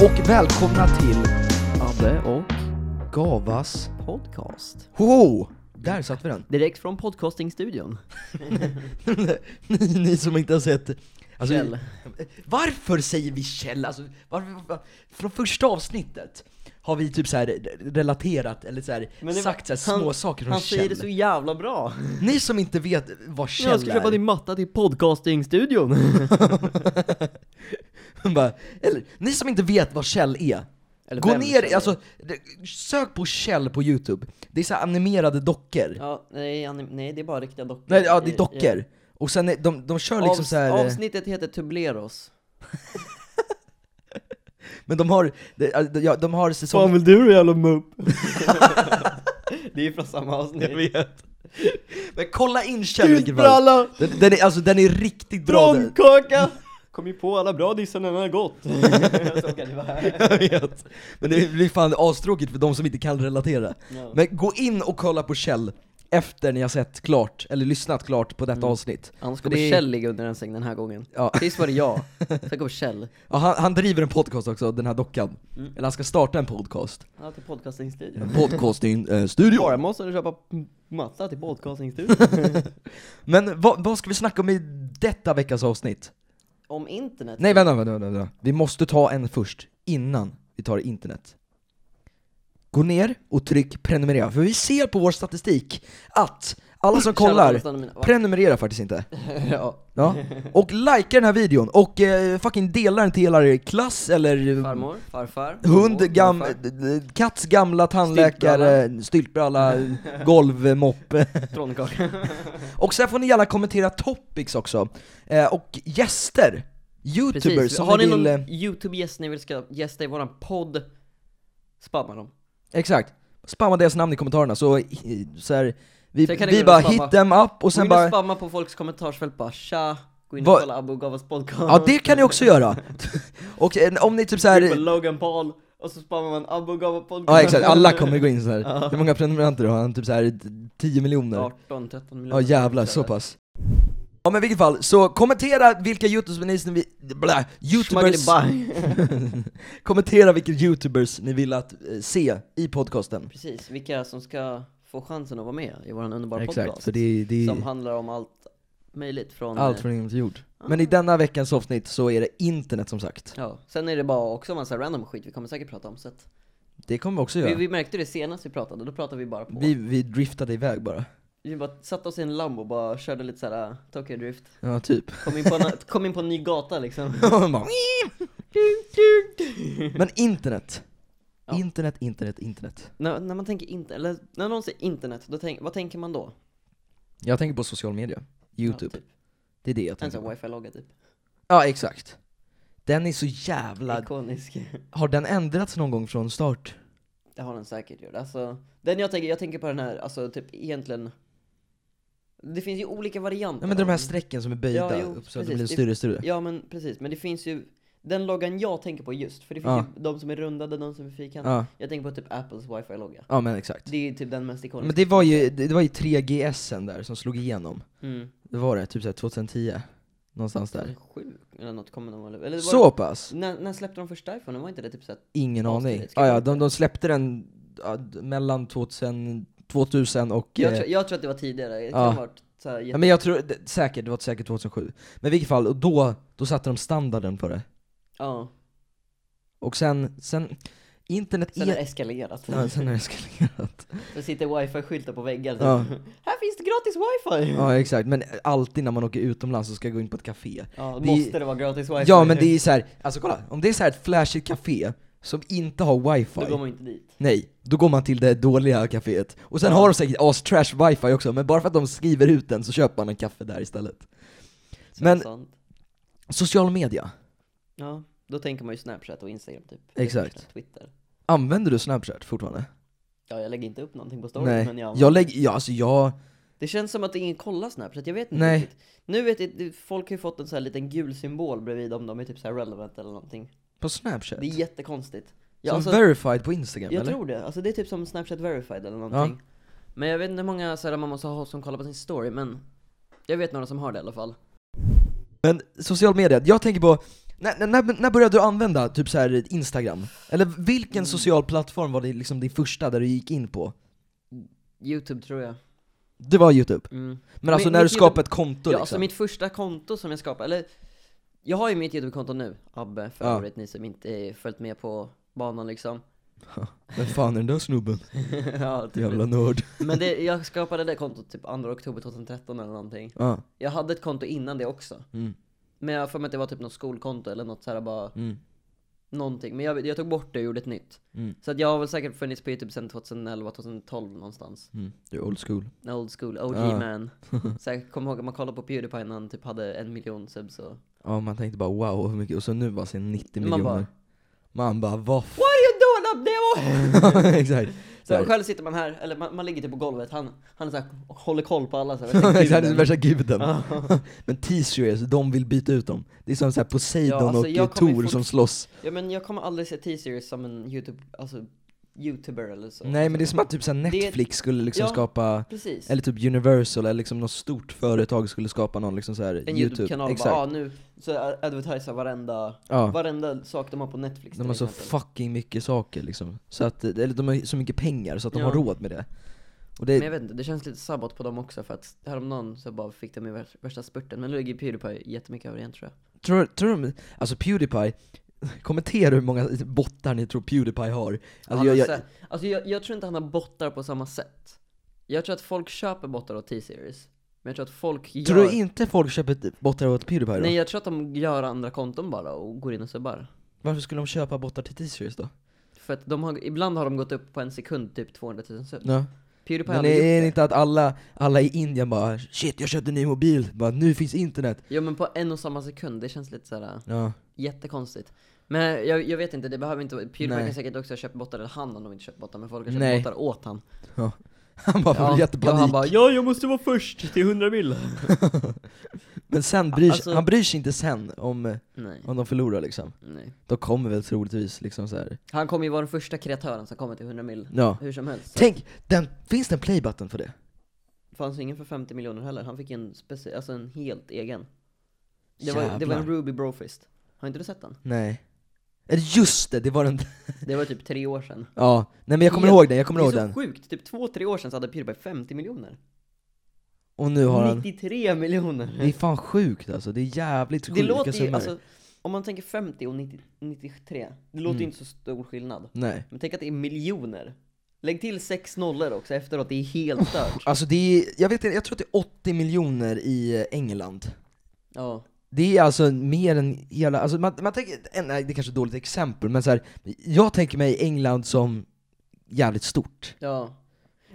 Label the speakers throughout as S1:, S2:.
S1: och välkomna till Adde och Gavas
S2: Podcast.
S1: Hoho! Där satt vi den.
S2: Direkt från podcastingstudion.
S1: ni, ni som inte har sett... Alltså,
S2: Kjell.
S1: Varför säger vi Kjell? Alltså, varför, varför, från första avsnittet har vi typ så här relaterat, eller så här,
S2: Men det var-
S1: sagt så här, små
S2: han-
S1: saker
S2: Han
S1: om
S2: säger det
S1: Kjell.
S2: så jävla bra.
S1: Ni som inte vet vad Kjell
S2: Jag ska
S1: är.
S2: köpa din matta till podcastingstudion.
S1: Bara, eller, ni som inte vet vad Kjell är,
S2: Eller
S1: gå
S2: vem
S1: ner,
S2: Kjell
S1: i-
S2: är.
S1: alltså, det- sök på Kjell på youtube. Det är så här animerade dockor.
S2: Ja, nej, han- nej, det är bara riktiga dockor.
S1: Nej, ja det
S2: I-
S1: är
S2: i-
S1: dockor. Och sen är, de, de kör liksom
S2: Avs-
S1: så här. eh,
S2: Avsnittet heter Tubleros.
S1: men de har, de, ja, de har säsong...
S2: vill du jävla mupp? det är ju från samma avsnitt.
S1: Jag vet. Men kolla in Kjell i vilket fall.
S2: alla!
S1: Den, den, är, alltså, den är riktigt bra den.
S2: Bromkaka! Kom ju på alla bra dissar när den har gått. så kan det vara.
S1: Jag vet. Men det blir fan astråkigt för de som inte kan relatera.
S2: Ja.
S1: Men gå in och kolla på Kjell efter ni har sett klart, eller lyssnat klart på detta avsnitt.
S2: Annars
S1: För
S2: kommer
S1: det är-
S2: Kjell ligga under en säng den här gången.
S1: Ja.
S2: Sist var det jag, sen kom Kjell.
S1: Ja, han, han driver en podcast också, den här dockan. Eller han ska starta en podcast.
S2: Ja, till podcastingstudion.
S1: Podcasting eh, studio.
S2: Bara måste du köpa m- matta till podcastingstudion.
S1: Men vad, vad ska vi snacka om i detta veckas avsnitt?
S2: Om internet?
S1: Nej vänta, vänta, vänta, vänta. Vi måste ta en först, innan vi tar internet. Gå ner och tryck prenumerera, för vi ser på vår statistik att alla som kollar
S2: Källa på mina- Va?
S1: prenumererar faktiskt inte.
S2: ja.
S1: Ja. Och likea den här videon, och eh, fucking dela den till er klass eller eh,
S2: Farmor, farfar,
S1: hund,
S2: mormor,
S1: gam,
S2: morfar,
S1: eh, katts gamla tandläkare, styltbralla, golvmoppe.
S2: trollkaka.
S1: Och sen får ni gärna kommentera topics också, eh, och gäster. Youtubers
S2: Precis,
S1: som
S2: har ni
S1: vill... eh,
S2: någon youtube-gäst ni vill ska gästa i våran podd? Spamma dem.
S1: Exakt. Spamma deras namn i kommentarerna så, så här, vi,
S2: Sen kan ni
S1: vi
S2: gå in
S1: bara
S2: och spamma.
S1: hit them up och
S2: Gå in
S1: sen
S2: och
S1: bara...
S2: spamma på folks kommentarsfält bara tja, gå in
S1: Vad-
S2: och kolla Abu Gavas podcast.
S1: Ja det kan ni också göra! och eh, om ni typ så
S2: På
S1: här...
S2: Logan Paul, och så spammar man Abu Gava podcast.
S1: Ja exakt, alla kommer gå in så här. Hur många prenumeranter har han? Typ så här 10 miljoner?
S2: 18-13 miljoner.
S1: Ja jävlar, så pass. Ja men i vilket fall, så kommentera vilka youtubers ni... ni- Blä, youtubers...
S2: Schmagelibaj.
S1: kommentera vilka youtubers ni vill att eh, se i podcasten.
S2: Precis, vilka som ska få chansen att vara med i våran underbara
S1: Exakt,
S2: podcast.
S1: för det är... Det
S2: Som
S1: är...
S2: handlar om allt möjligt från...
S1: Allt
S2: eh,
S1: från himmel till jord. Men i denna veckans avsnitt så är det internet som sagt.
S2: eh, Ja, sen är det bara också en massa random skit vi kommer säkert prata om så att
S1: Det kommer vi också göra.
S2: vi,
S1: Vi,
S2: vi märkte det senast vi pratade, då pratade vi bara på
S1: vi,
S2: Vi,
S1: driftade iväg bara.
S2: bara satte oss i en Lambo och bara körde lite såhär tokig drift
S1: Ja, typ.
S2: kom in, på en, kom in på en ny gata liksom
S1: Bara, Men internet.
S2: Ja.
S1: Internet, internet, internet.
S2: när, när man tänker internet, eller när någon säger internet, då tänk, vad tänker man då?
S1: Jag tänker på social media. Youtube.
S2: Ja, typ.
S1: Det är det jag
S2: En
S1: tänker
S2: sån
S1: på.
S2: wifi-logga typ,
S1: Ja, exakt. Den är så jävla...
S2: ikonisk
S1: Har den ändrats någon gång från start?
S2: Det har den säkert gjort, alltså Den jag tänker, jag tänker på den här, alltså typ egentligen Det finns ju olika varianter
S1: Nej men de
S2: av
S1: här
S2: den.
S1: strecken som är böjda
S2: Ja, jo,
S1: upp så att det blir
S2: precis.
S1: större och större.
S2: Ja men precis, men det finns ju den loggan jag tänker på just, för det finns
S1: Ja.
S2: ju de som är rundade, de som är fyrkantiga.
S1: Ja,
S2: Jag tänker på typ Apples wifi-logga.
S1: ja men exakt.
S2: Det är ju typ den mest ikoniska.
S1: Men det var ju, det det var ju 3GSen där som slog igenom.
S2: Mm.
S1: Det var det, typ såhär 2010. Någonstans där.
S2: 2007 eller något kommer de väl? Eller var
S1: Så pass?
S2: Mm. Det, när, när släppte de första iPhone? Var inte det typ såhär,
S1: Ingen
S2: Avsnittet,
S1: aning.
S2: ska
S1: Ah,
S2: vi
S1: ja,
S2: inte-
S1: de, de släppte den ja, d- mellan 2000, 2000 och...
S2: jag,
S1: eh,
S2: tror, jag tror att det var tidigare, det kan
S1: Ja.
S2: ha varit såhär
S1: ja,
S2: jätte...
S1: men jag tror, det, säkert, det var säkert 2007. Men i vilket fall, och då, då satte de standarden på det.
S2: Ja,
S1: Och sen, sen internet
S2: sen har
S1: är...
S2: det eskalerat.
S1: Ja, sen har det eskalerat.
S2: Det sitter wifi-skyltar på väggar typ.
S1: Ja.
S2: Här finns det gratis wifi! Ja,
S1: Ja exakt, men alltid när man åker utomlands så ska jag gå in på ett café.
S2: ja
S1: Det-
S2: måste det vara gratis wifi?
S1: Ja men det är så här, alltså kolla, om det är så här ett flashigt café som inte har wifi,
S2: Då går man ju inte dit.
S1: nej, då går man till det dåliga caféet. Och sen
S2: Ja.
S1: har de säkert as-trash wifi också, men bara för att de skriver ut den så köper man en kaffe där istället.
S2: Så
S1: Men-
S2: sant.
S1: Social media,
S2: Ja, då tänker man ju Snapchat och Instagram typ.
S1: Exakt.
S2: Twitter.
S1: använder du Snapchat fortfarande?
S2: Ja, jag lägger inte upp någonting på stories
S1: nej,
S2: men jag,
S1: jag lägger, ja, alltså jag,
S2: Det känns som att ingen kollar Snapchat, jag vet inte
S1: Nej.
S2: riktigt. Nu vet jag, det- folk har ju fått en sån här liten gul symbol bredvid om de är typ så här relevant eller någonting.
S1: på Snapchat?
S2: Det är jättekonstigt. Ja,
S1: Som
S2: alltså,
S1: verified på Instagram
S2: jag
S1: eller?
S2: tror det, alltså det är typ som Snapchat verified eller någonting. Men jag vet inte hur många så här, man måste ha som kollar på sin story men jag vet några som har det i alla fall.
S1: Men social media, jag tänker på När, när, när började du använda typ så här Instagram? Eller vilken
S2: Mm.
S1: social plattform var det liksom din första där du gick in på?
S2: Youtube tror jag.
S1: Det var youtube.
S2: Mm.
S1: Men alltså
S2: Min-
S1: när du
S2: mitt
S1: skapade
S2: YouTube-
S1: ett konto
S2: Ja,
S1: liksom?
S2: alltså mitt första konto som jag skapade, eller jag har ju mitt YouTube-konto nu, Abbe för
S1: Ja.
S2: övrigt, ni som inte eh, följt med på banan liksom.
S1: Vem fan är den där snubben?
S2: ja, typ.
S1: Jävla nörd.
S2: Men det, jag skapade det kontot typ 2 oktober 2013 eller någonting.
S1: Ja.
S2: Jag hade ett konto innan det också.
S1: Mm.
S2: Men jag har för mig att det var typ något skolkonto eller något så här bara
S1: Mm.
S2: någonting. Men jag, jag tog bort det och gjorde ett nytt.
S1: Mm.
S2: Så att jag har väl säkert funnits på YouTube sedan 2011, 2012 någonstans.
S1: Mm. Du är old school.
S2: Old school, OG
S1: Ja.
S2: man. Så jag kommer ihåg att man kollade på Pewdiepie när han typ hade en miljon subs och...
S1: Ja man tänkte bara wow hur mycket, och så nu var det 90
S2: Man
S1: miljoner.
S2: bara-
S1: man bara vad f-
S2: What are you doing up there?
S1: Exakt.
S2: Så
S1: Där.
S2: själv sitter man här, eller man, man ligger typ på golvet, han, han är så här, och håller koll på alla så här,
S1: Exakt,
S2: guden.
S1: värsta guden.
S2: Ja.
S1: Men T-series, de vill byta ut dem. Det är som så här Poseidon
S2: Ja, alltså,
S1: och eh,
S2: jag kommer
S1: Tor
S2: fort-
S1: som slåss.
S2: Ja men jag kommer aldrig se T-series som en YouTube, alltså, youtuber eller så
S1: Nej men det är som att typ så här Netflix skulle liksom
S2: Ja.
S1: skapa,
S2: Precis,
S1: eller typ Universal eller liksom något stort företag skulle skapa någon liksom så här
S2: en
S1: YouTube.
S2: YouTube-kanal
S1: Exakt.
S2: bara, ah, nu så advertisar varenda,
S1: Ja.
S2: varenda sak de har på Netflix
S1: De
S2: till
S1: har så
S2: exempel.
S1: fucking mycket saker liksom. Så att, eller de har så mycket pengar så att de
S2: Ja.
S1: har råd med det. Och det
S2: Men jag vet inte, det känns lite sabbat på dem också för att häromdagen så bara fick de ju vär- värsta spurten, men nu ligger Pewdiepie jättemycket över igen tror jag
S1: Tror, tror de, alltså Pewdiepie, kommentera hur många bottar ni tror Pewdiepie har. Alltså,
S2: Han
S1: jag,
S2: har
S1: jag,
S2: sett- alltså jag, jag tror inte han har bottar på samma sätt Jag tror att folk köper bottar åt T-series, men jag tror att folk gör
S1: tror du inte folk köper bottar åt Pewdiepie då?
S2: Nej jag tror att de gör andra konton bara och går in och subbar
S1: Varför skulle de köpa bottar till t-shirts då?
S2: För att de har, ibland har de gått upp på en sekund typ 200 000 subs
S1: Ja.
S2: Pewdiepie
S1: Men
S2: hade
S1: det är
S2: gjort
S1: det
S2: det
S1: inte att alla, alla i Indien bara 'Shit, jag köpte en ny mobil' bara 'Nu finns internet'
S2: Ja men på en och samma sekund, det känns lite äh. såhär
S1: Ja,
S2: jättekonstigt Men jag, jag vet inte, det behöver inte, Pewdiepie
S1: Nej.
S2: kan säkert också ha köpt bottar, eller han har nog inte köpt bottar men folk har köpt
S1: Nej.
S2: bottar åt han
S1: ja. Han bara får
S2: och
S1: jättepanik,
S2: han bara 'Ja jag måste vara först till 100 mil'
S1: men sen bryr, sig-
S2: Alltså-
S1: han bryr sig inte sen om,
S2: Nej,
S1: om de förlorar liksom
S2: nej
S1: De kommer väl troligtvis liksom så här.
S2: Han kommer ju vara den första kreatören som kommer till 100 mil
S1: ja
S2: Hur som helst,
S1: Tänk, den, finns det en playbutton för det?
S2: fanns ju ingen för 50 miljoner heller, han fick en speci- alltså en helt egen Det var, det var
S1: Jävlar.
S2: en Ruby Brofist, har inte du sett den?
S1: Nej Eller just det, det var den
S2: Det var typ tre år sedan
S1: Ja, nej men jag kommer
S2: Helt-
S1: ihåg den, jag kommer
S2: det är
S1: ihåg
S2: så
S1: den.
S2: sjukt, typ två, tre år sedan så hade Pewdiepie 50 miljoner
S1: Och nu har han...
S2: 93 miljoner!
S1: Det är fan sjukt alltså, det är jävligt sjuka
S2: Det låter ju,
S1: summor.
S2: alltså, om man tänker 50 och 90, 93, det låter ju
S1: Mm.
S2: inte så stor skillnad.
S1: Nej.
S2: Men tänk att det är miljoner. Lägg till sex nollor också efteråt, det är helt stört.
S1: Alltså det är, jag vet inte, jag tror att det är 80 miljoner i eh, England.
S2: Ja.
S1: Det är alltså mer än hela, alltså man, man tänker, eh, nej det är kanske är ett dåligt exempel, men så här, jag tänker mig England som jävligt stort.
S2: ja.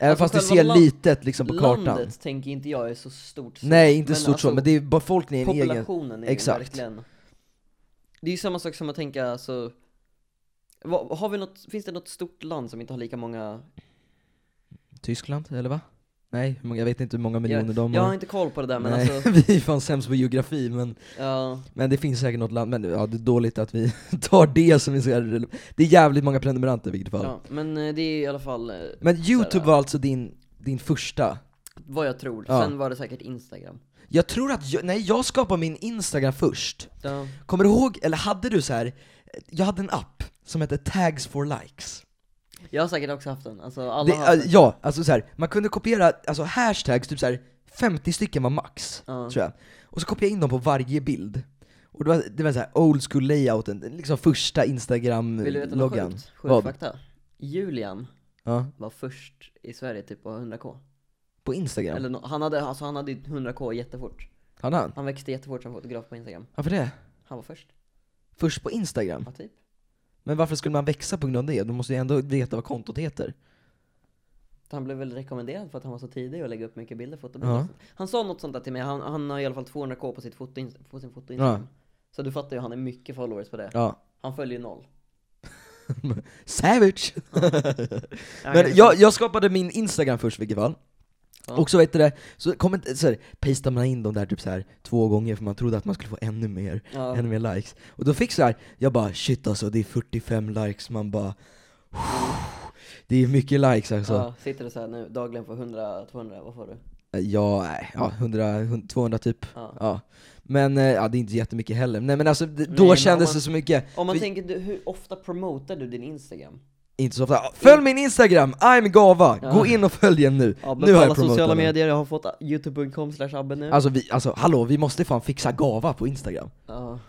S1: Även
S2: Alltså,
S1: fast det
S2: själva
S1: ser
S2: land-
S1: litet liksom på kartan.
S2: Landet tänker inte jag är så stort. så.
S1: Nej, inte
S2: Men
S1: stort så,
S2: alltså,
S1: men det är befolkningen i egen...
S2: Populationen är ju
S1: Exakt.
S2: verkligen... Det är ju samma sak som att tänka alltså... Vad, har vi något, finns det något stort land som inte har lika många...
S1: Tyskland, eller va? Nej, hur många- jag vet inte hur många miljoner
S2: jag,
S1: de
S2: jag
S1: har.
S2: har inte koll på det där men
S1: nej,
S2: alltså...
S1: vi är fan sämst på geografi men
S2: Ja,
S1: Men det finns säkert något land, men ja, det är dåligt att vi tar det som är så här Det är jävligt många prenumeranter i vilket fall.
S2: ja, men eh, det är i alla fall... eh,
S1: Men youtube var alltså din, din första?
S2: Vad jag tror.
S1: Ja.
S2: Sen var det säkert Instagram.
S1: Jag tror att, jag, nej jag skapade min instagram först.
S2: Ja.
S1: Kommer du ihåg, eller hade du så här jag hade en app som hette tags for likes.
S2: Jag har säkert också haft den. Alltså alla
S1: Det,
S2: har haft
S1: äh,
S2: den.
S1: ja, alltså så här, man kunde kopiera alltså hashtags, typ så här 50 stycken var max,
S2: Ja.
S1: tror jag. Och så kopierade jag in dem på varje bild. Och det var, det var så här old school layouten, liksom första
S2: Vill du veta något
S1: instagram-loggan.
S2: sjukt?
S1: Vad?
S2: Sjuk fakta. Julian
S1: Ja,
S2: var först i Sverige typ på 100k.
S1: på instagram.
S2: Eller nå- han hade, alltså han hade ju 100k jättefort.
S1: Han han?
S2: Han växte jättefort som fotograf på Instagram.
S1: Varför det?
S2: Han var först.
S1: Mm. Först på Instagram?
S2: Ja, typ.
S1: Men varför skulle man växa på grund av det? Du måste ju ändå veta vad kontot heter.
S2: Han blev väl rekommenderad för att han var så tidig och lägga upp mycket bilder, fotobilder.
S1: Ja.
S2: och sånt. Han sa något sånt där till mig, han, han har i alla fall 200k på, sitt foto, på sin foto Instagram. Så du fattar ju, han är mycket followers på det.
S1: Ja.
S2: Han följer ju noll.
S1: Savage! Men
S2: kanske-
S1: jag, jag skapade min Instagram först i vilket fall.
S2: Ja.
S1: Och så vet du det, så kom inte, så här, pastade man in dem där typ så här två gånger för man trodde att man skulle få ännu mer,
S2: ja.
S1: ännu mer likes. Och då fick så här, jag bara shit alltså det är 45 likes, man bara det är mycket likes alltså.
S2: Ja, sitter du såhär nu dagligen på 100-200, vad får du?
S1: Ja, nej, ja 100, 200 typ.
S2: Ja.
S1: Ja. Men eh, ja, det är inte jättemycket heller. Nej men alltså, d-
S2: Nej,
S1: då
S2: men om
S1: kändes
S2: man-
S1: det så mycket.
S2: Om man
S1: Vi-
S2: tänker, du, hur ofta promotar du din Instagram?
S1: Inte så ofta. Följ min Instagram, I'm Gava!
S2: Ja.
S1: Gå in och följ den nu.
S2: Ja,
S1: nu
S2: men på
S1: har
S2: alla
S1: jag promotat
S2: sociala
S1: den.
S2: medier, jag har fått youtube.com slash abbe nu.
S1: Alltså, vi, alltså hallå, vi måste fan fixa Gava på Instagram.
S2: Ja.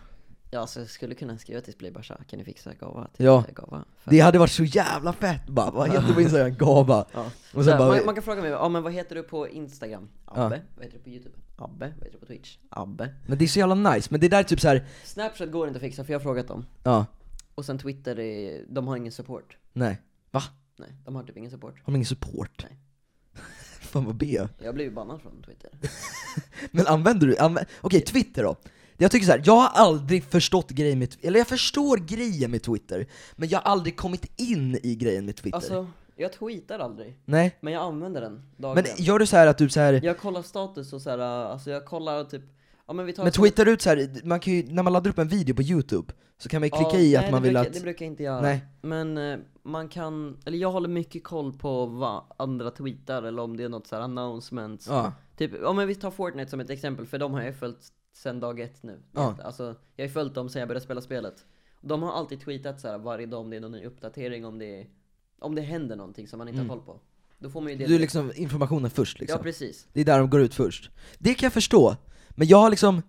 S2: Ja, så jag skulle kunna skriva till Splay bara så här, kan ni fixa gava till
S1: Ja.
S2: gava? För-
S1: Det hade varit så jävla fett bara, vad heter du på Instagram? Gava.
S2: Ja.
S1: Och
S2: Så
S1: sen
S2: här,
S1: bara,
S2: man, man kan fråga mig, ja men vad heter du på Instagram? Abbe. Vad heter du på Youtube? Abbe. Vad heter du på Twitch? Abbe.
S1: men det är så jävla nice, men det där är typ så här.
S2: Snapchat går inte att fixa för jag har frågat dem.
S1: ja,
S2: Och sen Twitter, är, de har ingen support.
S1: nej. Va?
S2: Nej, de har typ ingen support.
S1: Har de ingen support?
S2: Nej.
S1: fan vad B.
S2: Jag blev ju bannad från Twitter.
S1: Men använder du, anvä- okej Twitter då. Jag tycker så här, jag har aldrig förstått grejen med, eller jag förstår grejen med Twitter, men jag har aldrig kommit in i grejen med Twitter.
S2: Alltså, jag tweetar aldrig.
S1: Nej.
S2: Men jag använder den
S1: Men
S2: dagligen.
S1: gör du så här att du så här,
S2: Jag kollar status och så här, alltså jag kollar typ, ja men vi tar
S1: men twittar du ut så här, man kan ju, när man laddar upp en video på youtube, så kan man ju
S2: Ja,
S1: klicka i att
S2: nej,
S1: man
S2: det
S1: vill
S2: brukar,
S1: att,
S2: Det brukar jag inte göra.
S1: Nej.
S2: Men eh, man kan, eller jag håller mycket koll på vad andra tweetar eller om det är något så här announcements.
S1: ja,
S2: Typ, om vi tar Fortnite som ett exempel, för de har jag följt sedan dag ett nu.
S1: Ja.
S2: Alltså, jag har följt dem sedan jag började spela spelet. De har alltid tweetat så här varje dag om det är någon ny uppdatering, om det, är, om det händer någonting som man inte har koll på. Då får man ju det.
S1: Mm. du är liksom informationen först liksom.
S2: Ja precis.
S1: Det är där de går ut först. Det kan jag förstå, men jag har liksom,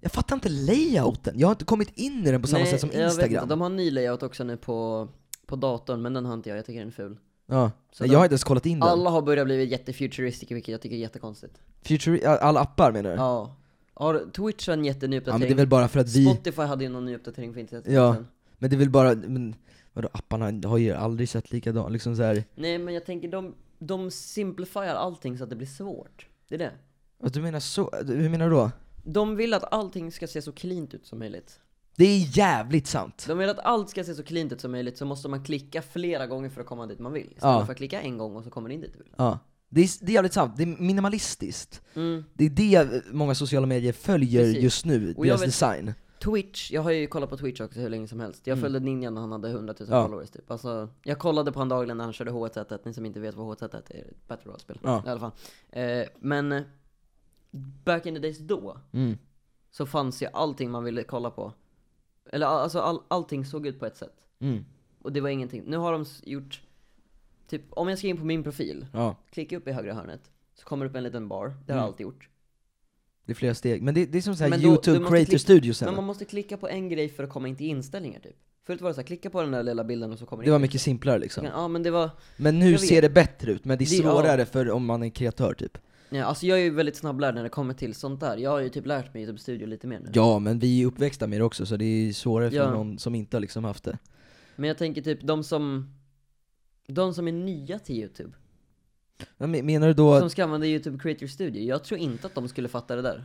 S1: jag fattar inte layouten, jag har inte kommit in i den på samma
S2: Nej,
S1: sätt som
S2: jag vet
S1: instagram.
S2: inte. De har en ny layout också nu på, på datorn, men den har inte jag, jag tycker den är ful.
S1: ja.
S2: Så
S1: Nej,
S2: de-
S1: jag har inte ens kollat in den.
S2: Alla har börjat bli jättefuturistic, vilket jag tycker är jättekonstigt.
S1: Future, alla appar menar du?
S2: Ja. Har Twitch en jätteny
S1: ja men
S2: uppdatering?
S1: det är väl bara för att vi
S2: Spotify hade ju någon ny uppdatering för inte jättelänge
S1: Ja.
S2: sedan.
S1: Men det är väl bara, men vadå apparna har ju aldrig sett likadana, liksom så här.
S2: Nej men jag tänker de, de simplifierar allting så att det blir svårt. Det är det.
S1: Vad Alltså, du menar så, hur menar du då?
S2: De vill att allting ska se så cleant ut som möjligt.
S1: Det är jävligt sant!
S2: De vill att allt ska se så cleant ut som möjligt så måste man klicka flera gånger för att komma dit man vill. Istället
S1: Ja.
S2: för att klicka en gång och så kommer det in dit du vill.
S1: Ja. Det är, det är jävligt sant, det är minimalistiskt.
S2: Mm.
S1: Det är det många sociala medier följer
S2: Precis.
S1: just nu,
S2: Och jag
S1: deras
S2: vet-
S1: design.
S2: Twitch, jag har ju kollat på Twitch också hur länge som helst. Jag följde Ninja när han hade 100 000
S1: Mm. Ja.
S2: followers typ. Alltså, jag kollade på honom dagligen när han körde H1Z1, ni som inte vet vad H1Z1 är, ett battle royale-spel.
S1: Ja.
S2: I alla fall. Eh, men eh, back in the days då,
S1: Mm.
S2: så fanns ju allting man ville kolla på. Eller all- alltså all, allting såg ut på ett sätt.
S1: Mm.
S2: Och det var ingenting. Nu har de s- gjort, typ om jag ska in på min profil,
S1: Ja,
S2: klicka upp i högra hörnet, så kommer det upp en liten bar. Det har jag
S1: Mm.
S2: alltid gjort.
S1: det är flera steg. Men det, det är som så här
S2: Men då-
S1: youtube
S2: du måste
S1: creator
S2: klicka-
S1: studios
S2: Men man
S1: man...
S2: måste klicka på en grej för att komma in till inställningar typ. Förut var det så här, klicka på den där lilla bilden och så kommer
S1: Det var mycket simplare liksom.
S2: Ja men det var,
S1: Men nu
S2: Jag vet.
S1: ser det bättre ut, men det är
S2: Det- ja.
S1: svårare för om man är kreatör typ.
S2: ja, alltså jag är ju väldigt snabblärd när det kommer till sånt där. Jag har ju typ lärt mig Youtube Studio lite mer nu.
S1: Ja, men vi är uppväxta med det också, så det är svårare för
S2: Ja.
S1: någon som inte har liksom haft det.
S2: Men jag tänker typ de som, de som är nya till Youtube,
S1: Men Menar du då att
S2: som ska använda Youtube Creator Studio, jag tror inte att de skulle fatta det där.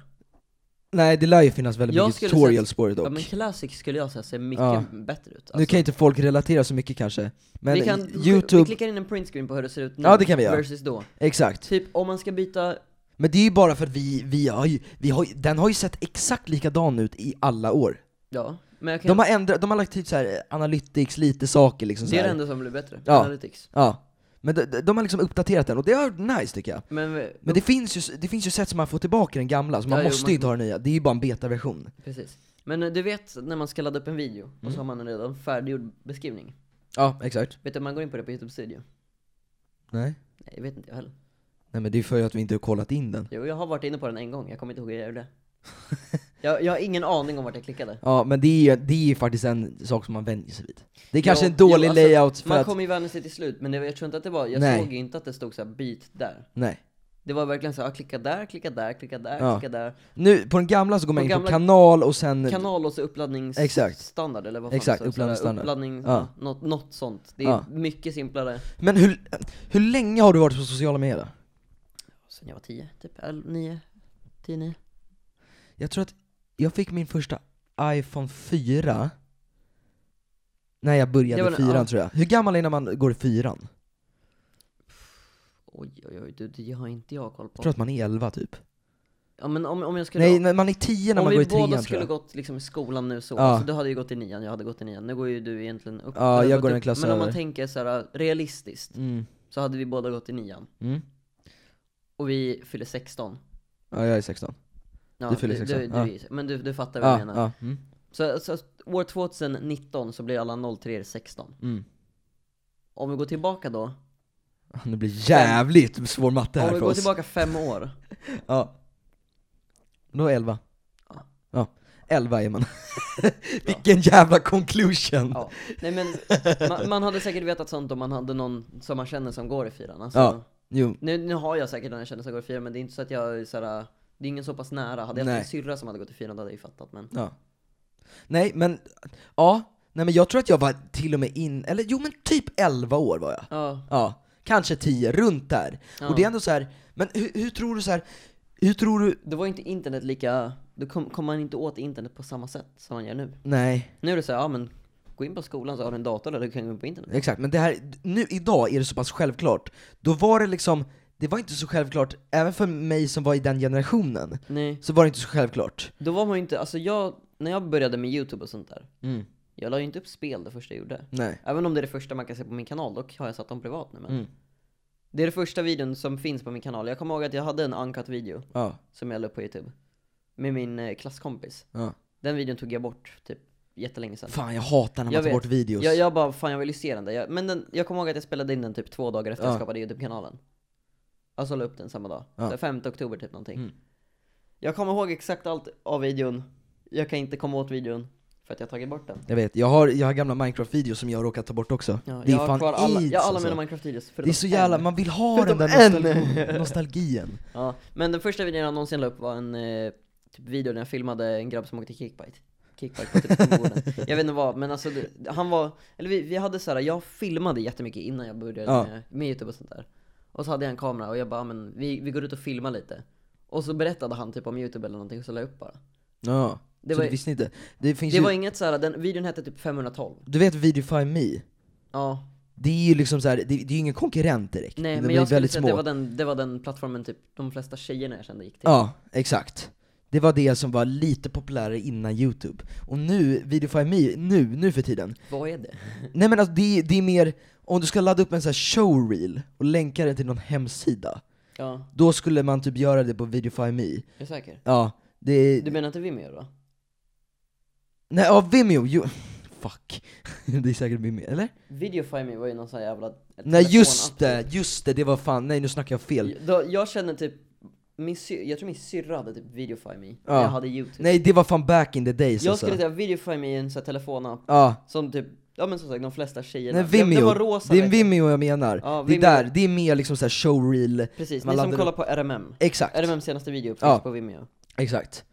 S1: Nej det lär ju finnas väldigt
S2: Jag
S1: mycket
S2: skulle
S1: tutorials på det dock.
S2: Ja men Classic skulle jag säga ser mycket
S1: Ja.
S2: bättre ut. Alltså,
S1: Nu kan ju inte folk relatera så mycket kanske, men
S2: vi kan,
S1: youtube,
S2: vi klickar in en printscreen på hur det ser ut nu,
S1: Ja, det kan vi göra.
S2: versus då.
S1: exakt.
S2: Typ om man ska byta,
S1: Men det är ju bara för att vi, vi har ju, vi har, ju- den har ju sett exakt likadan ut i alla år.
S2: ja, men jag kan,
S1: De har ändrat, de har lagt till så här eh, analytics, lite saker liksom så
S2: det är det
S1: här.
S2: enda som blir bättre,
S1: Ja.
S2: analytics.
S1: Ja. Men de, de- de har liksom uppdaterat den, och det är nice tycker jag.
S2: Men, vi-
S1: Men det finns ju, det finns ju sätt som man får tillbaka den gamla, så man
S2: Ja, jo,
S1: måste
S2: man-
S1: ju inte ha den nya, det är ju bara en betaversion.
S2: precis. Men eh, du vet när man ska ladda upp en video, och
S1: Mm.
S2: så har man en redan färdiggjord beskrivning.
S1: Ja, exakt.
S2: Vet du om man går in på det på Youtube Studio?
S1: Nej.
S2: Nej, jag vet inte jag heller.
S1: Nej men det är ju för att vi inte har kollat in den.
S2: Jo, jag har varit inne på den en gång, jag kommer inte ihåg hur jag gjorde. jag, jag har ingen aning om vart jag klickade.
S1: Ja men det är ju det är ju faktiskt en sak som man vänjer sig vid. Det är kanske
S2: Jo,
S1: en dålig
S2: jo, alltså,
S1: layout för
S2: Man
S1: att...
S2: kommer ju vänja sig till slut, men det, jag tror inte att det var, jag
S1: Nej.
S2: såg ju inte att det stod så här byt där.
S1: Nej.
S2: Det var verkligen så här, ah, klicka där, klicka där, klicka där,
S1: Ja.
S2: klicka där.
S1: Nu, på den gamla så går man
S2: På
S1: in
S2: gamla-
S1: på kanal och sen...
S2: Kanal och så uppladdningsstandard
S1: Exakt.
S2: eller vad fan
S1: Exakt,
S2: står det? Så här,
S1: uppladdningsstandard.
S2: Uppladdning,
S1: Ja.
S2: något, något sånt. Det är
S1: Ja.
S2: mycket simplare.
S1: Men hur, hur länge har du varit på sociala medier?
S2: Sen jag var 10, typ 11, 9, 10, 9.
S1: Jag tror att jag fick min första iPhone 4 när jag
S2: Det
S1: började
S2: var den-
S1: fyran
S2: ja.
S1: tror jag. Hur gammal är när man går i fyran?
S2: Oj oj oj, du, det har inte jag koll
S1: Jag
S2: på.
S1: tror att man är 11 typ.
S2: Ja men om, om jag skulle...
S1: Nej, men man är 10 när
S2: om
S1: man
S2: vi
S1: går i
S2: båda
S1: trean tror
S2: skulle
S1: jag.
S2: gått liksom i skolan nu så,
S1: Ja.
S2: alltså, du hade ju gått i nian, jag hade gått i nian. Nu går ju du egentligen upp.
S1: Ja,
S2: eller
S1: jag
S2: gått
S1: går en
S2: upp.
S1: klass
S2: Men om man
S1: över.
S2: tänker så här realistiskt,
S1: Mm.
S2: så hade vi båda gått i nian.
S1: Mm.
S2: och vi fyller 16
S1: Ja, jag är 16.
S2: ja,
S1: Du fyller 16,
S2: du, du,
S1: ja.
S2: är- Men du, du fattar vad
S1: Ja,
S2: jag menar
S1: ja. Mm.
S2: så, så år 2019 så blir alla 03 16
S1: Mm.
S2: Om vi går tillbaka då,
S1: Det blir jävligt svår matte
S2: om
S1: här
S2: vi
S1: för
S2: går
S1: oss.
S2: tillbaka fem år
S1: Ja. Då är 11.
S2: Ja.
S1: Ja. 11 är man. Vilken jävla conclusion!
S2: Ja, nej men man, man hade säkert vetat sånt om man hade någon som man känner som går i fyran alltså,
S1: Ja. Jo,
S2: nu, nu har jag säkert någon jag känner som går i fyran men det är inte så att jag är såhär, det är ingen så pass nära. Hade jag haft
S1: Nej.
S2: en syrra som hade gått i fyran då hade jag ju fattat men
S1: ja. Nej men, ja. Nej men jag tror att jag var till och med in, eller jo men typ 11 år var jag.
S2: Ja,
S1: Ja, kanske 10, runt där.
S2: ja.
S1: Och det är ändå så här. men hur, hur tror du så här? hur tror du?
S2: Då var ju inte internet lika, då kom, kom man inte åt internet på samma sätt som man gör nu.
S1: Nej,
S2: Nu är det såhär, ja men gå in på skolan så har du en dator där du kan gå in på internet.
S1: exakt. Men det här, nu idag är det så pass självklart. Då var det liksom, det var inte så självklart, även för mig som var i den generationen,
S2: Nej,
S1: så var det inte så självklart.
S2: då var man ju inte, alltså jag, när jag började med youtube och sånt där,
S1: Mm.
S2: jag la ju inte upp spel det första jag gjorde.
S1: Nej.
S2: Även om det är det första man kan se på min kanal, dock har jag satt dem privat nu men
S1: Mm.
S2: Det är den första videon som finns på min kanal, jag kommer ihåg att jag hade en uncut video
S1: Ja.
S2: som jag la upp på youtube Med min eh, klasskompis
S1: ja.
S2: Den videon tog jag bort typ jättelänge sedan
S1: Fan jag hatar när man
S2: Jag
S1: tar
S2: vet.
S1: bort videos.
S2: jag, jag bara, fan jag vill ju se den där, jag, men den, jag kommer ihåg att jag spelade in den typ två dagar efter
S1: Ja.
S2: jag skapade youtube-kanalen Alltså la upp den samma dag,
S1: Ja.
S2: Så 5 oktober typ någonting
S1: Mm.
S2: Jag kommer ihåg exakt allt av videon, jag kan inte komma åt videon för att jag har tagit bort den
S1: Jag vet, jag har, jag har gamla Minecraft-videos som jag har råkat ta bort också.
S2: ja,
S1: det är
S2: Jag har
S1: fan
S2: kvar alla,
S1: aids,
S2: jag har alla
S1: alltså.
S2: mina Minecraft-videos
S1: Det är
S2: förutom
S1: så jävla,
S2: en.
S1: man vill ha den där
S2: Förutom en.
S1: nostalgi- nostalgien.
S2: Ja, men den första videon jag någonsin la upp var en eh, typ video där jag filmade en grabb som åkte kickbite. Kickbite på typ skolgården. Jag vet inte vad, men alltså det, han var, eller vi, vi hade så här, jag filmade jättemycket innan jag började
S1: Ja.
S2: med, med youtube och sånt där. Och så hade jag en kamera och jag bara, "Ja, men vi, vi går ut och filmar lite. Och så berättade han typ om youtube eller någonting och så la jag upp bara.
S1: Ja,
S2: Det
S1: så
S2: var-
S1: du visste inte. Det finns
S2: Det
S1: ju,
S2: var inget så här, den videon hette typ 512.
S1: Du vet Videofy Me?
S2: Ja,
S1: Det är ju liksom så här, det, det är ju ingen konkurrent direkt.
S2: nej
S1: De
S2: men
S1: är ju
S2: jag skulle
S1: väldigt
S2: säga
S1: små.
S2: att det var, den, det var den plattformen typ de flesta tjejerna jag kände gick till.
S1: Ja, exakt. Det var det som var lite populärare innan youtube. Och nu, Videofy Me, nu, nu för tiden.
S2: Vad är det?
S1: Nej men alltså det, är- det är mer, om du ska ladda upp en sån här showreel och länka den till någon hemsida,
S2: Ja,
S1: då skulle man typ göra det på Videofy Me.
S2: jag är säker.
S1: Ja, det...
S2: Du menar inte Vimeo då?
S1: Nej, ja Vimeo, jo... Fuck. det är säkert Vimeo, eller?
S2: Videofy Me var ju någon sån här jävla
S1: Nej just
S2: telefonapp.
S1: det, just det, det var fan, nej nu snackar jag fel.
S2: Då, jag känner typ, min sy- jag tror min syrra hade typ Videofy Me,
S1: Ja.
S2: när jag hade youtube
S1: Nej det var fan back in the days
S2: Jag
S1: alltså.
S2: skulle säga Videofy Me är en sån här telefonapp
S1: Ja,
S2: som typ, ja men som sagt de flesta tjejerna
S1: nej
S2: Den- Den
S1: Vimeo,
S2: var rosa
S1: det är
S2: vet jag.
S1: Vimeo jag menar.
S2: Ja,
S1: det är
S2: Vimeo.
S1: där, det är mer liksom såhär showreel,
S2: Precis,
S1: Man
S2: ni som
S1: laddar
S2: kollar på RMM
S1: exakt,
S2: RMMs senaste video finns
S1: Ja.
S2: på Vimeo
S1: exakt.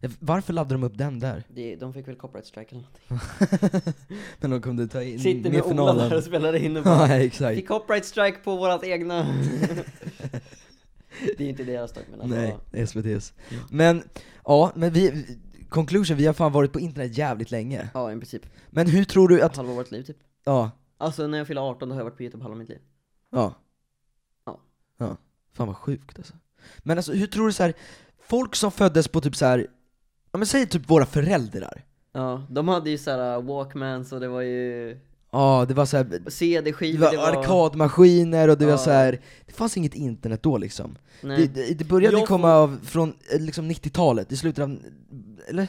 S1: Eh, Varför laddade de upp den där?
S2: det, De fick väl copyright strike eller någonting
S1: Men de kunde ta in
S2: Sitter med Ola där och spelar in och bara
S1: Ja exakt.
S2: Fick copyright strike på vårat egna Det är ju inte deras dock men alltså,
S1: Nej, det är SVT's. Men, ja, men vi, conclusion, vi har fan varit på internet jävligt länge.
S2: ja i princip
S1: Men hur tror du att,
S2: halva vårt liv typ
S1: ja,
S2: Alltså när jag fyller 18 då har jag varit på youtube halva mitt liv
S1: ja.
S2: Ja.
S1: Ja. Fan vad sjukt alltså. Men alltså hur tror du så här, folk som föddes på typ så här, ja men säg typ våra föräldrar.
S2: Ja, de hade ju såhär walkmans och det var ju
S1: Ja, det var så här, det
S2: CD-skivor,
S1: var arkadmaskiner och det var
S2: Ja.
S1: så här, det fanns inget internet då liksom. Det,
S2: nej,
S1: det, det började
S2: Jag
S1: komma
S2: får-
S1: av, från eh, liksom 90-talet, i slutet av, eller?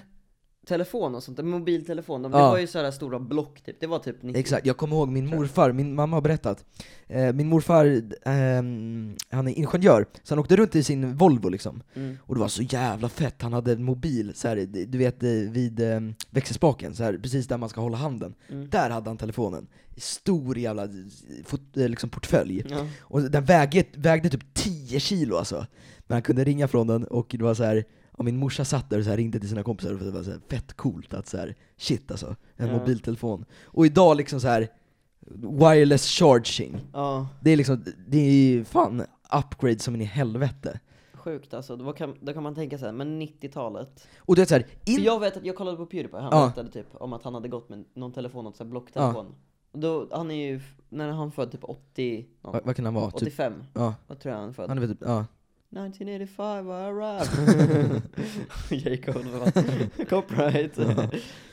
S2: telefon och sånt, mobiltelefon, de, det
S1: Ja.
S2: var ju såhär stora block typ, det var typ 90
S1: Exakt, jag kommer ihåg min morfar, min mamma har berättat. Eh, min morfar, ehm, han är ingenjör, så han åkte runt i sin Volvo liksom.
S2: mm.
S1: Och det var så jävla fett, han hade en mobil, så här, du vet eh, vid eh, växelspaken, så här, precis där man ska hålla handen.
S2: Mm.
S1: Där hade han telefonen, i stor jävla eh, fot, eh, liksom portfölj.
S2: Ja.
S1: Och den vägde, vägde typ 10 kilo alltså. Men han kunde ringa från den och det var så här. Ja, min morsa satt där och så här ringde till sina kompisar för det var så här fett coolt att så här, shit alltså, en
S2: Ja.
S1: mobiltelefon. Och idag liksom så här wireless charging.
S2: ja,
S1: Det är liksom, det är ju fan upgrade som in i helvete.
S2: sjukt alltså, då kan, då kan man tänka såhär, men 90-talet
S1: Och du vet såhär,
S2: För
S1: in...
S2: Jag vet att jag kollade på Pewdiepie, han
S1: Ja.
S2: berättade typ om att han hade gått med någon telefon, någon sån här blocktelefon Och Då, han är ju, f- när han född typ 80, någon,
S1: vad, vad kan han vara? Typ,
S2: 85,
S1: ja,
S2: vad tror jag han är född?
S1: han är väl typ, ja.
S2: 1985 I arrived Jacob, det var copyright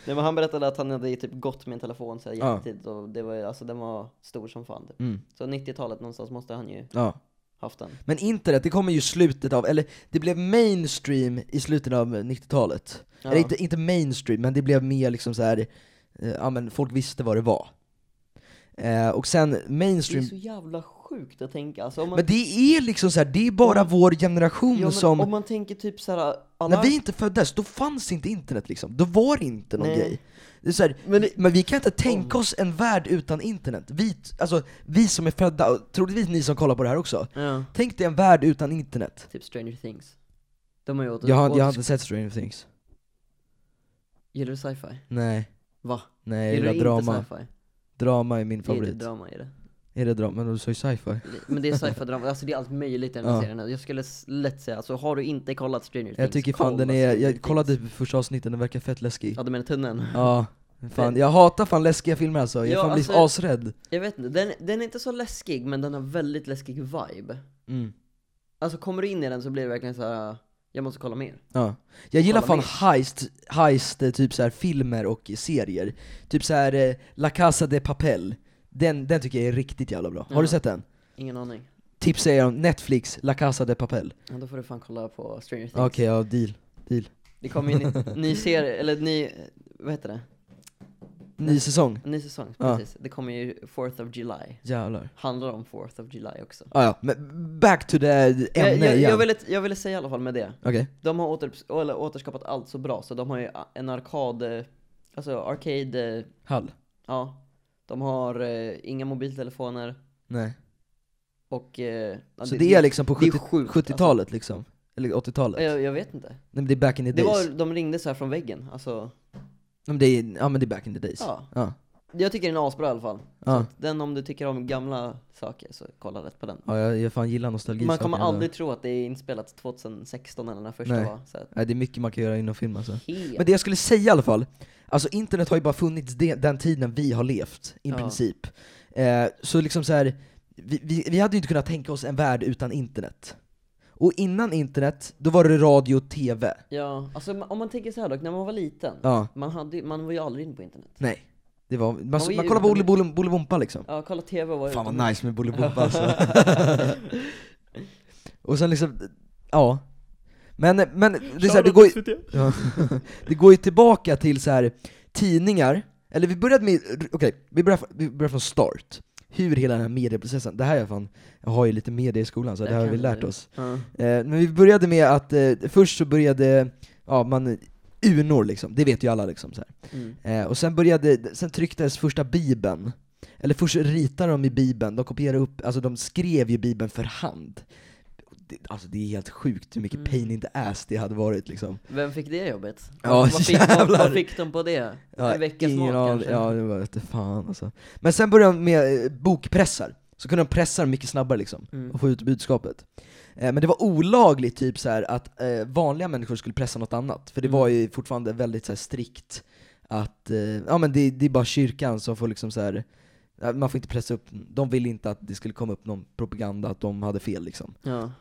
S2: Nej men han berättade att han hade ju typ gått med en telefon så här
S1: Ja.
S2: jättetidigt och det var ju, alltså den var stor som fan typ.
S1: Mm,
S2: Så 90-talet någonstans måste han ju
S1: ja.
S2: haft den.
S1: Men internet, det kommer ju i slutet av, eller det blev mainstream i slutet av 90-talet.
S2: Ja.
S1: Eller inte, inte mainstream, men det blev mer liksom så här, eh, ja men folk visste vad det var. Eh, och sen
S2: Det är
S1: mainstream,
S2: så jävla sjukt att tänka. Alltså, om man,
S1: men det är liksom så här, det är bara vår generation
S2: ja, men
S1: som,
S2: om man tänker typ såhär, alla...
S1: när vi inte föddes, då fanns inte internet liksom. Då var det inte någon
S2: Nej.
S1: grej. Det är så här,
S2: Men
S1: men,
S2: det-
S1: vi kan inte tänka oss en värld utan internet. Vi, alltså, vi som är födda, och troligtvis ni som kollar på det här också,
S2: Ja,
S1: tänk dig en värld utan internet.
S2: typ Stranger Things. De har ju åter...
S1: Jag har,
S2: åter-
S1: jag har inte sett Stranger Things.
S2: Gillar du sci-fi?
S1: Nej.
S2: Va?
S1: Nej, jag
S2: Gillar
S1: gillar
S2: du
S1: drama.
S2: inte sci-fi?
S1: Drama är min
S2: Det är
S1: favorit.
S2: inte drama i det.
S1: är det drama? Men du sa ju sci-fi.
S2: Det- Men det är sci-fi drama, alltså det är allt möjligt i den här
S1: Ja.
S2: serien. Jag skulle s- lätt säga, alltså har du inte kollat Stranger Things,
S1: Jag tycker fan den
S2: kolla
S1: är,
S2: Stranger
S1: jag
S2: Things.
S1: kollade typ första avsnittet, den verkar fett läskig.
S2: Ja du menar tunneln?
S1: Ja. Fan, jag hatar fan läskiga filmer alltså, jag
S2: Ja,
S1: fan blir
S2: alltså-
S1: asrädd.
S2: Jag vet inte, den, den är inte så läskig men den har väldigt läskig vibe.
S1: Mm.
S2: Alltså kommer du in i den så blir det verkligen så här. jag måste kolla mer.
S1: Ja. Jag gillar
S2: Kolla
S1: fan heist, heist, eh, typ så här filmer och serier. Typ så här eh, La Casa de Papel. Den, den tycker jag är riktigt jävla bra. Har
S2: Ja.
S1: du sett den?
S2: Ingen aning.
S1: Tipsar jag om Netflix, La Casa de Papel.
S2: Ja, då får du fan kolla på Stranger Things.
S1: Okej, ja deal. Deal.
S2: Det kommer ju en ny- ny serie, eller ny, eh, vad heter det?
S1: Ny säsong.
S2: En ny säsong,
S1: Ja.
S2: precis. Det kommer ju 4th of July.
S1: Jävlar.
S2: Handlar om 4th of July också.
S1: Ah, ja, men back to the
S2: Jag,
S1: ämne
S2: jag,
S1: igen.
S2: jag, ville, jag ville säga i alla fall med det.
S1: Okej.
S2: De har åter, eller återskapat allt så bra, så de har ju a- en arkad, eh, alltså arcade, eh,
S1: Hall?
S2: ja. De har eh, inga mobiltelefoner
S1: Nej.
S2: och... Eh, ja,
S1: Så det är liksom på
S2: det är
S1: 70
S2: sjukt, alltså.
S1: 70-talet liksom? Eller 80-talet?
S2: Jag, jag vet inte.
S1: Nej men det är back in the
S2: Det
S1: days.
S2: var, de ringde så här från väggen, alltså.
S1: Ja, men det är, ja men det är back in the days.
S2: Ja.
S1: Ja.
S2: Jag tycker den är asbra i alla fall.
S1: Ja.
S2: Den om du tycker om gamla saker, så kolla rätt på den.
S1: ja jag, jag fan gillar nostalgi.
S2: Man
S1: saker
S2: kommer
S1: ändå.
S2: aldrig tro att det är inspelat 2016 eller när första
S1: Nej.
S2: var. Så att,
S1: Nej det är mycket man kan göra inom film alltså.
S2: helt.
S1: Men det jag skulle säga i alla fall, alltså internet har ju bara funnits de, den tiden vi har levt, i
S2: Ja.
S1: princip. Eh, så liksom så här, vi, vi, vi hade ju inte kunnat tänka oss en värld utan internet. Och innan internet, då var det radio och TV.
S2: Ja, alltså ma- om man tänker så här dock, när man var liten,
S1: Ja.
S2: man, hade, ju- man var ju aldrig inne på internet.
S1: Nej. Det var, man, man,
S2: var ju
S1: kollar på
S2: utomhus.
S1: Olle- Bolibompa liksom.
S2: Ja, kolla TV var
S1: Fan vad
S2: utomhus.
S1: nice med Bolibompa alltså. Och sen liksom, ja. Men, men det, är så här, det, går, ju- ja. det går ju tillbaka till så här tidningar, eller vi började med, okej, vi, börjar, vi börjar från start. Hur hela den här medieprocessen, det här är fan, jag har ju lite media i skolan så det
S2: Jag
S1: här har
S2: kan
S1: vi
S2: det.
S1: lärt oss.
S2: Ja.
S1: Eh, men vi började med att, eh, först så började, ja man, urnor liksom, det vet ju alla liksom så här.
S2: Mm.
S1: Eh, och sen började, sen trycktes första bibeln. Eller först ritade de i bibeln, de kopierade upp, alltså de skrev ju bibeln för hand. Det, alltså det är helt sjukt hur mycket
S2: Mm.
S1: pain in the ass det hade varit liksom.
S2: Vem fick det jobbet?
S1: Ja,
S2: vad, fick de,
S1: jävlar.
S2: vad fick de på det? en veckas mat
S1: aning-
S2: kanske?
S1: Ja, det var inte fan alltså. Men sen började de med eh, bokpressar, så kunde de pressa dem mycket snabbare liksom,
S2: Mm.
S1: och få ut budskapet. Eh, men det var olagligt typ så här, att eh, vanliga människor skulle pressa något annat, för det
S2: Mm.
S1: var ju fortfarande väldigt så här, strikt att, eh, ja men det, det är bara kyrkan som får liksom så här. ja, man får inte pressa upp, de ville inte att det skulle komma upp någon propaganda att de hade fel liksom.
S2: Ja.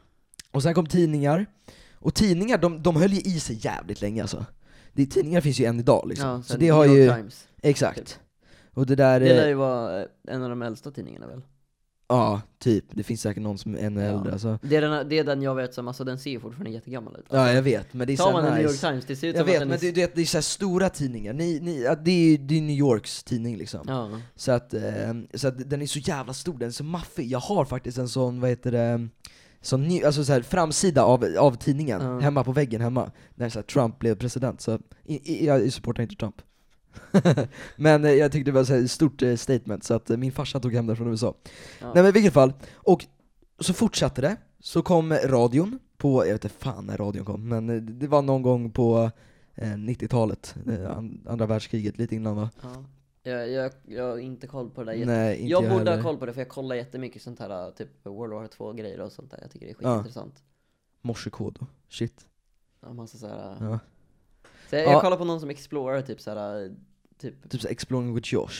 S1: Och sen kom tidningar, och tidningar de, de höll ju i sig jävligt länge alltså. Det, tidningar finns ju än idag liksom.
S2: Ja,
S1: så
S2: sen
S1: det har
S2: New York
S1: ju,
S2: Times.
S1: exakt. Och det där,
S2: Typ. Det lär
S1: eh,
S2: ju vara eh, en av de äldsta tidningarna väl?
S1: ja typ, det finns säkert någon som är ännu
S2: Ja.
S1: äldre alltså.
S2: Det är, den, det är den jag vet som, alltså den ser ju fortfarande jättegammal ut.
S1: Ja jag vet, men det är
S2: Tar man
S1: så
S2: en New York
S1: nice.
S2: Times, det ser ut
S1: Jag
S2: som
S1: vet,
S2: att den
S1: men
S2: är...
S1: det, det, det är så här stora tidningar, ni, ni, ja, det är ju det är New Yorks tidning liksom.
S2: Ja.
S1: Så, att, eh, så att den är så jävla stor, den är så maffig. Jag har faktiskt en sån, vad heter det, sån ny, alltså så här, framsida av, av tidningen,
S2: Ja.
S1: hemma på väggen hemma, när så här, Trump blev president. Så i, i, jag supportar inte Trump. men eh, jag tyckte det var så här, ett stort eh, statement, så att eh, min farsa tog hem den från USA.
S2: Ja.
S1: Nej men i vilket fall, och så fortsatte det, så kom radion på, jag vet inte fan när radion kom, men eh, det var någon gång på eh, 90-talet, eh, an- andra världskriget, lite innan va?
S2: Ja. Jag, jag, jag har inte koll på det där jätte...
S1: Nej, inte
S2: Jag borde
S1: heller.
S2: ha koll på det för jag kollar jättemycket sånt här typ World War 2 grejer och sånt där. Jag tycker det är
S1: Ja.
S2: skitintressant.
S1: morsekod och shit.
S2: Ja. Massa så här, äh.
S1: Ja.
S2: så jag,
S1: Ja.
S2: jag kollar på någon som explorar typ så här typ
S1: Typ såhär Exploring with Josh.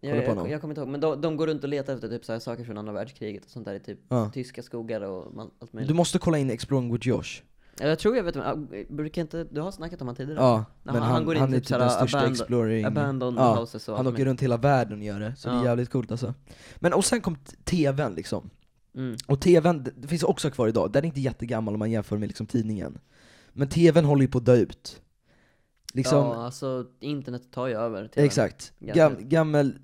S2: jag,
S1: Kollar på
S2: jag,
S1: honom.
S2: jag kommer inte ihåg, men de, de går runt och letar efter typ så här saker från andra världskriget och sånt där i typ
S1: Ja.
S2: tyska skogar och man, allt möjligt.
S1: Du måste kolla in Exploring with Josh.
S2: Ja, Jag tror jag vet, men, äh, brukar inte, du har snackat om han tidigare?
S1: Ja,
S2: Nej,
S1: men han,
S2: han-
S1: han,
S2: han går in
S1: är
S2: typ
S1: typ
S2: såhär
S1: den största
S2: abandon-
S1: exploring...
S2: Abandoned
S1: Ja,
S2: houses och
S1: Han
S2: allt
S1: åker runt hela världen och gör det, så det
S2: Ja.
S1: är jävligt coolt alltså. Men och sen kom t- TVn liksom.
S2: Mm.
S1: Och tvn, det finns också kvar idag, den är inte jättegammal om man jämför med liksom tidningen. Men tvn håller ju på att dö ut. Liksom,
S2: Ja, alltså internet tar ju över till
S1: Exakt.
S2: Gammel.
S1: Gam, gammel,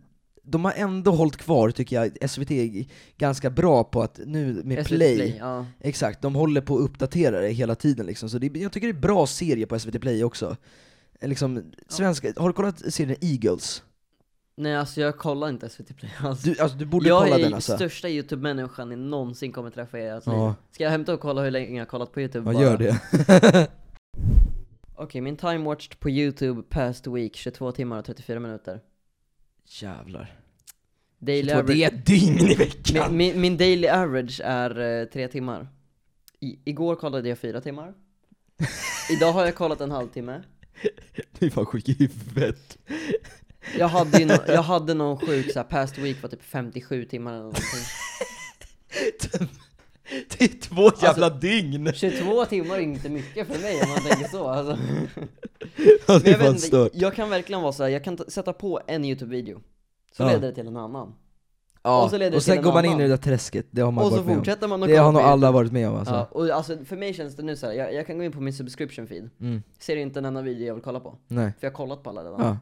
S1: de har ändå hållit kvar, tycker jag, SVT är ganska bra på att nu med
S2: SVT
S1: Play,
S2: ja.
S1: exakt, de håller på att uppdatera det hela tiden liksom. Så det, är- jag tycker det är bra serie på SVT Play också. Liksom, svenska, har du kollat serien Eagles?
S2: Nej alltså jag kollar inte SVT Play alls.
S1: Du, alltså, du borde
S2: jag
S1: kolla
S2: är
S1: den alltså.
S2: största YouTube-människan ni någonsin kommer träffa i ert
S1: Ja.
S2: liv. Ska jag hämta och kolla hur länge jag har kollat på YouTube?
S1: Ja,
S2: bara?
S1: gör det.
S2: Okej, min time watched på YouTube past week, 22 timmar och 34 minuter.
S1: Jävlar.
S2: Daily
S1: Jag tror det
S2: average,
S1: är ett dygn i veckan!
S2: min, min, min daily average är eh, tre timmar. I, igår kollade jag fyra timmar. Idag har jag kollat en halvtimme.
S1: Du är fan sjuk i huvudet.
S2: Jag hade, ju nå- jag hade någon sjuk så här, past week var typ 57 timmar eller någonting.
S1: Det är två
S2: Alltså-
S1: jävla dygn!
S2: 22 timmar är inte mycket för mig om man tänker så alltså.
S1: Ja,
S2: Men
S1: Det
S2: jag,
S1: är
S2: vet
S1: fan
S2: inte,
S1: stört.
S2: jag kan verkligen vara så här, jag kan t- sätta på en YouTube-video, så
S1: Ja.
S2: leder det till en annan.
S1: Ja.
S2: och så leder det till
S1: sen
S2: en
S1: går man
S2: annan.
S1: in i det där träsket, det har man
S2: och så
S1: varit med om.
S2: fortsätter man att
S1: Det har
S2: kolla
S1: nog
S2: på
S1: alla varit med om alltså.
S2: Ja, och alltså för mig känns det nu så här. Jag, jag kan gå in på min subscription feed,
S1: Mm.
S2: ser inte en enda video jag vill kolla på,
S1: Nej.
S2: för jag har kollat på alla redan.
S1: Ja,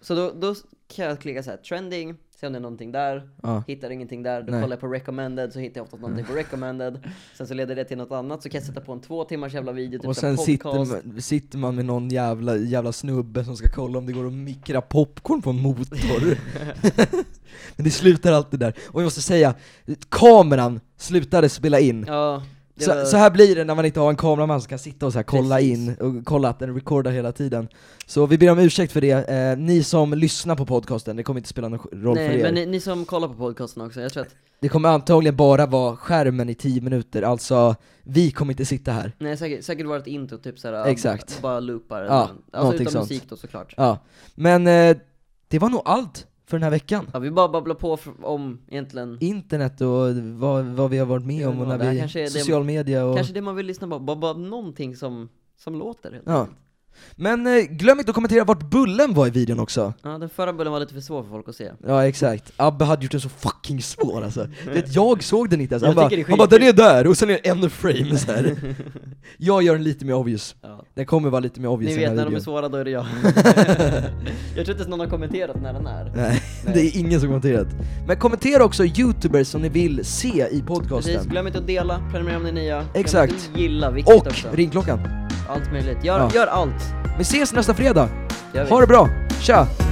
S2: Så då, då kan jag klicka så här, trending, se om det är någonting där,
S1: ja.
S2: hittar ingenting där, då
S1: Nej. Mm.
S2: kollar jag på recommended, så hittar jag oftast någonting på recommended, sen så leder det till något annat, så kan jag sätta på en två timmars jävla video, typ
S1: Och
S2: så här
S1: sen
S2: podcast.
S1: sitter man, sitter man med någon jävla, jävla snubbe som ska kolla om det går att mikra popcorn på en motor. Men det slutar alltid där. Och jag måste säga, kameran slutade spela in.
S2: Ja, det
S1: Så,
S2: var-
S1: så här blir det när man inte har en kameraman som kan sitta och så här kolla
S2: Precis.
S1: in och kolla att den recordar hela tiden. Så vi ber om ursäkt för det, eh, ni som lyssnar på podcasten, det kommer inte spela någon roll för
S2: Nej
S1: er.
S2: men ni, ni som kollar på podcasten också, jag tror att,
S1: Det kommer antagligen bara vara skärmen i 10 minuter, alltså vi kommer inte sitta här.
S2: nej säkert, säkert var det ett intro typ såhär,
S1: Exakt.
S2: bara loopar
S1: Ja,
S2: Alltså
S1: någonting
S2: utan
S1: sånt.
S2: musik då såklart
S1: Ja, men eh, det var nog allt för den här veckan.
S2: Ja vi bara babblar på f- om egentligen
S1: Internet och vad, vad vi har varit med
S2: Ja,
S1: om och
S2: det här
S1: när vi,
S2: kanske är det-
S1: social media och...
S2: Kanske det man vill lyssna på, bara, bara någonting som, som låter helt
S1: Ja.
S2: enkelt.
S1: Men eh, glöm inte att kommentera vart Bullen var i videon också.
S2: ja, den förra bullen var lite för svår för folk att se
S1: Ja exakt, Abbe hade gjort den så fucking svår alltså. Du Vet, jag såg den inte ens,
S2: Jag
S1: han bara,
S2: tycker det är
S1: han bara 'den är där' och sen är det en frame så här. Jag gör den lite mer obvious,
S2: ja.
S1: den kommer vara lite mer obvious
S2: Ni
S1: i den
S2: vet när
S1: här
S2: de är
S1: videon. Mm.
S2: svåra då är det jag Jag tror inte ens någon har kommenterat när den är
S1: Nej, det är ingen som kommenterat. Men kommentera också youtubers som ni vill se i
S2: Precis,
S1: podcasten.
S2: glöm inte att dela, prenumerera om ni är nya Glöm
S1: Exakt.
S2: inte att Gilla, viktigt också
S1: Och ringklockan.
S2: Allt möjligt, gör,
S1: Ja.
S2: gör allt!
S1: Vi ses nästa fredag!
S2: Gör vi.
S1: Ha det bra, tja!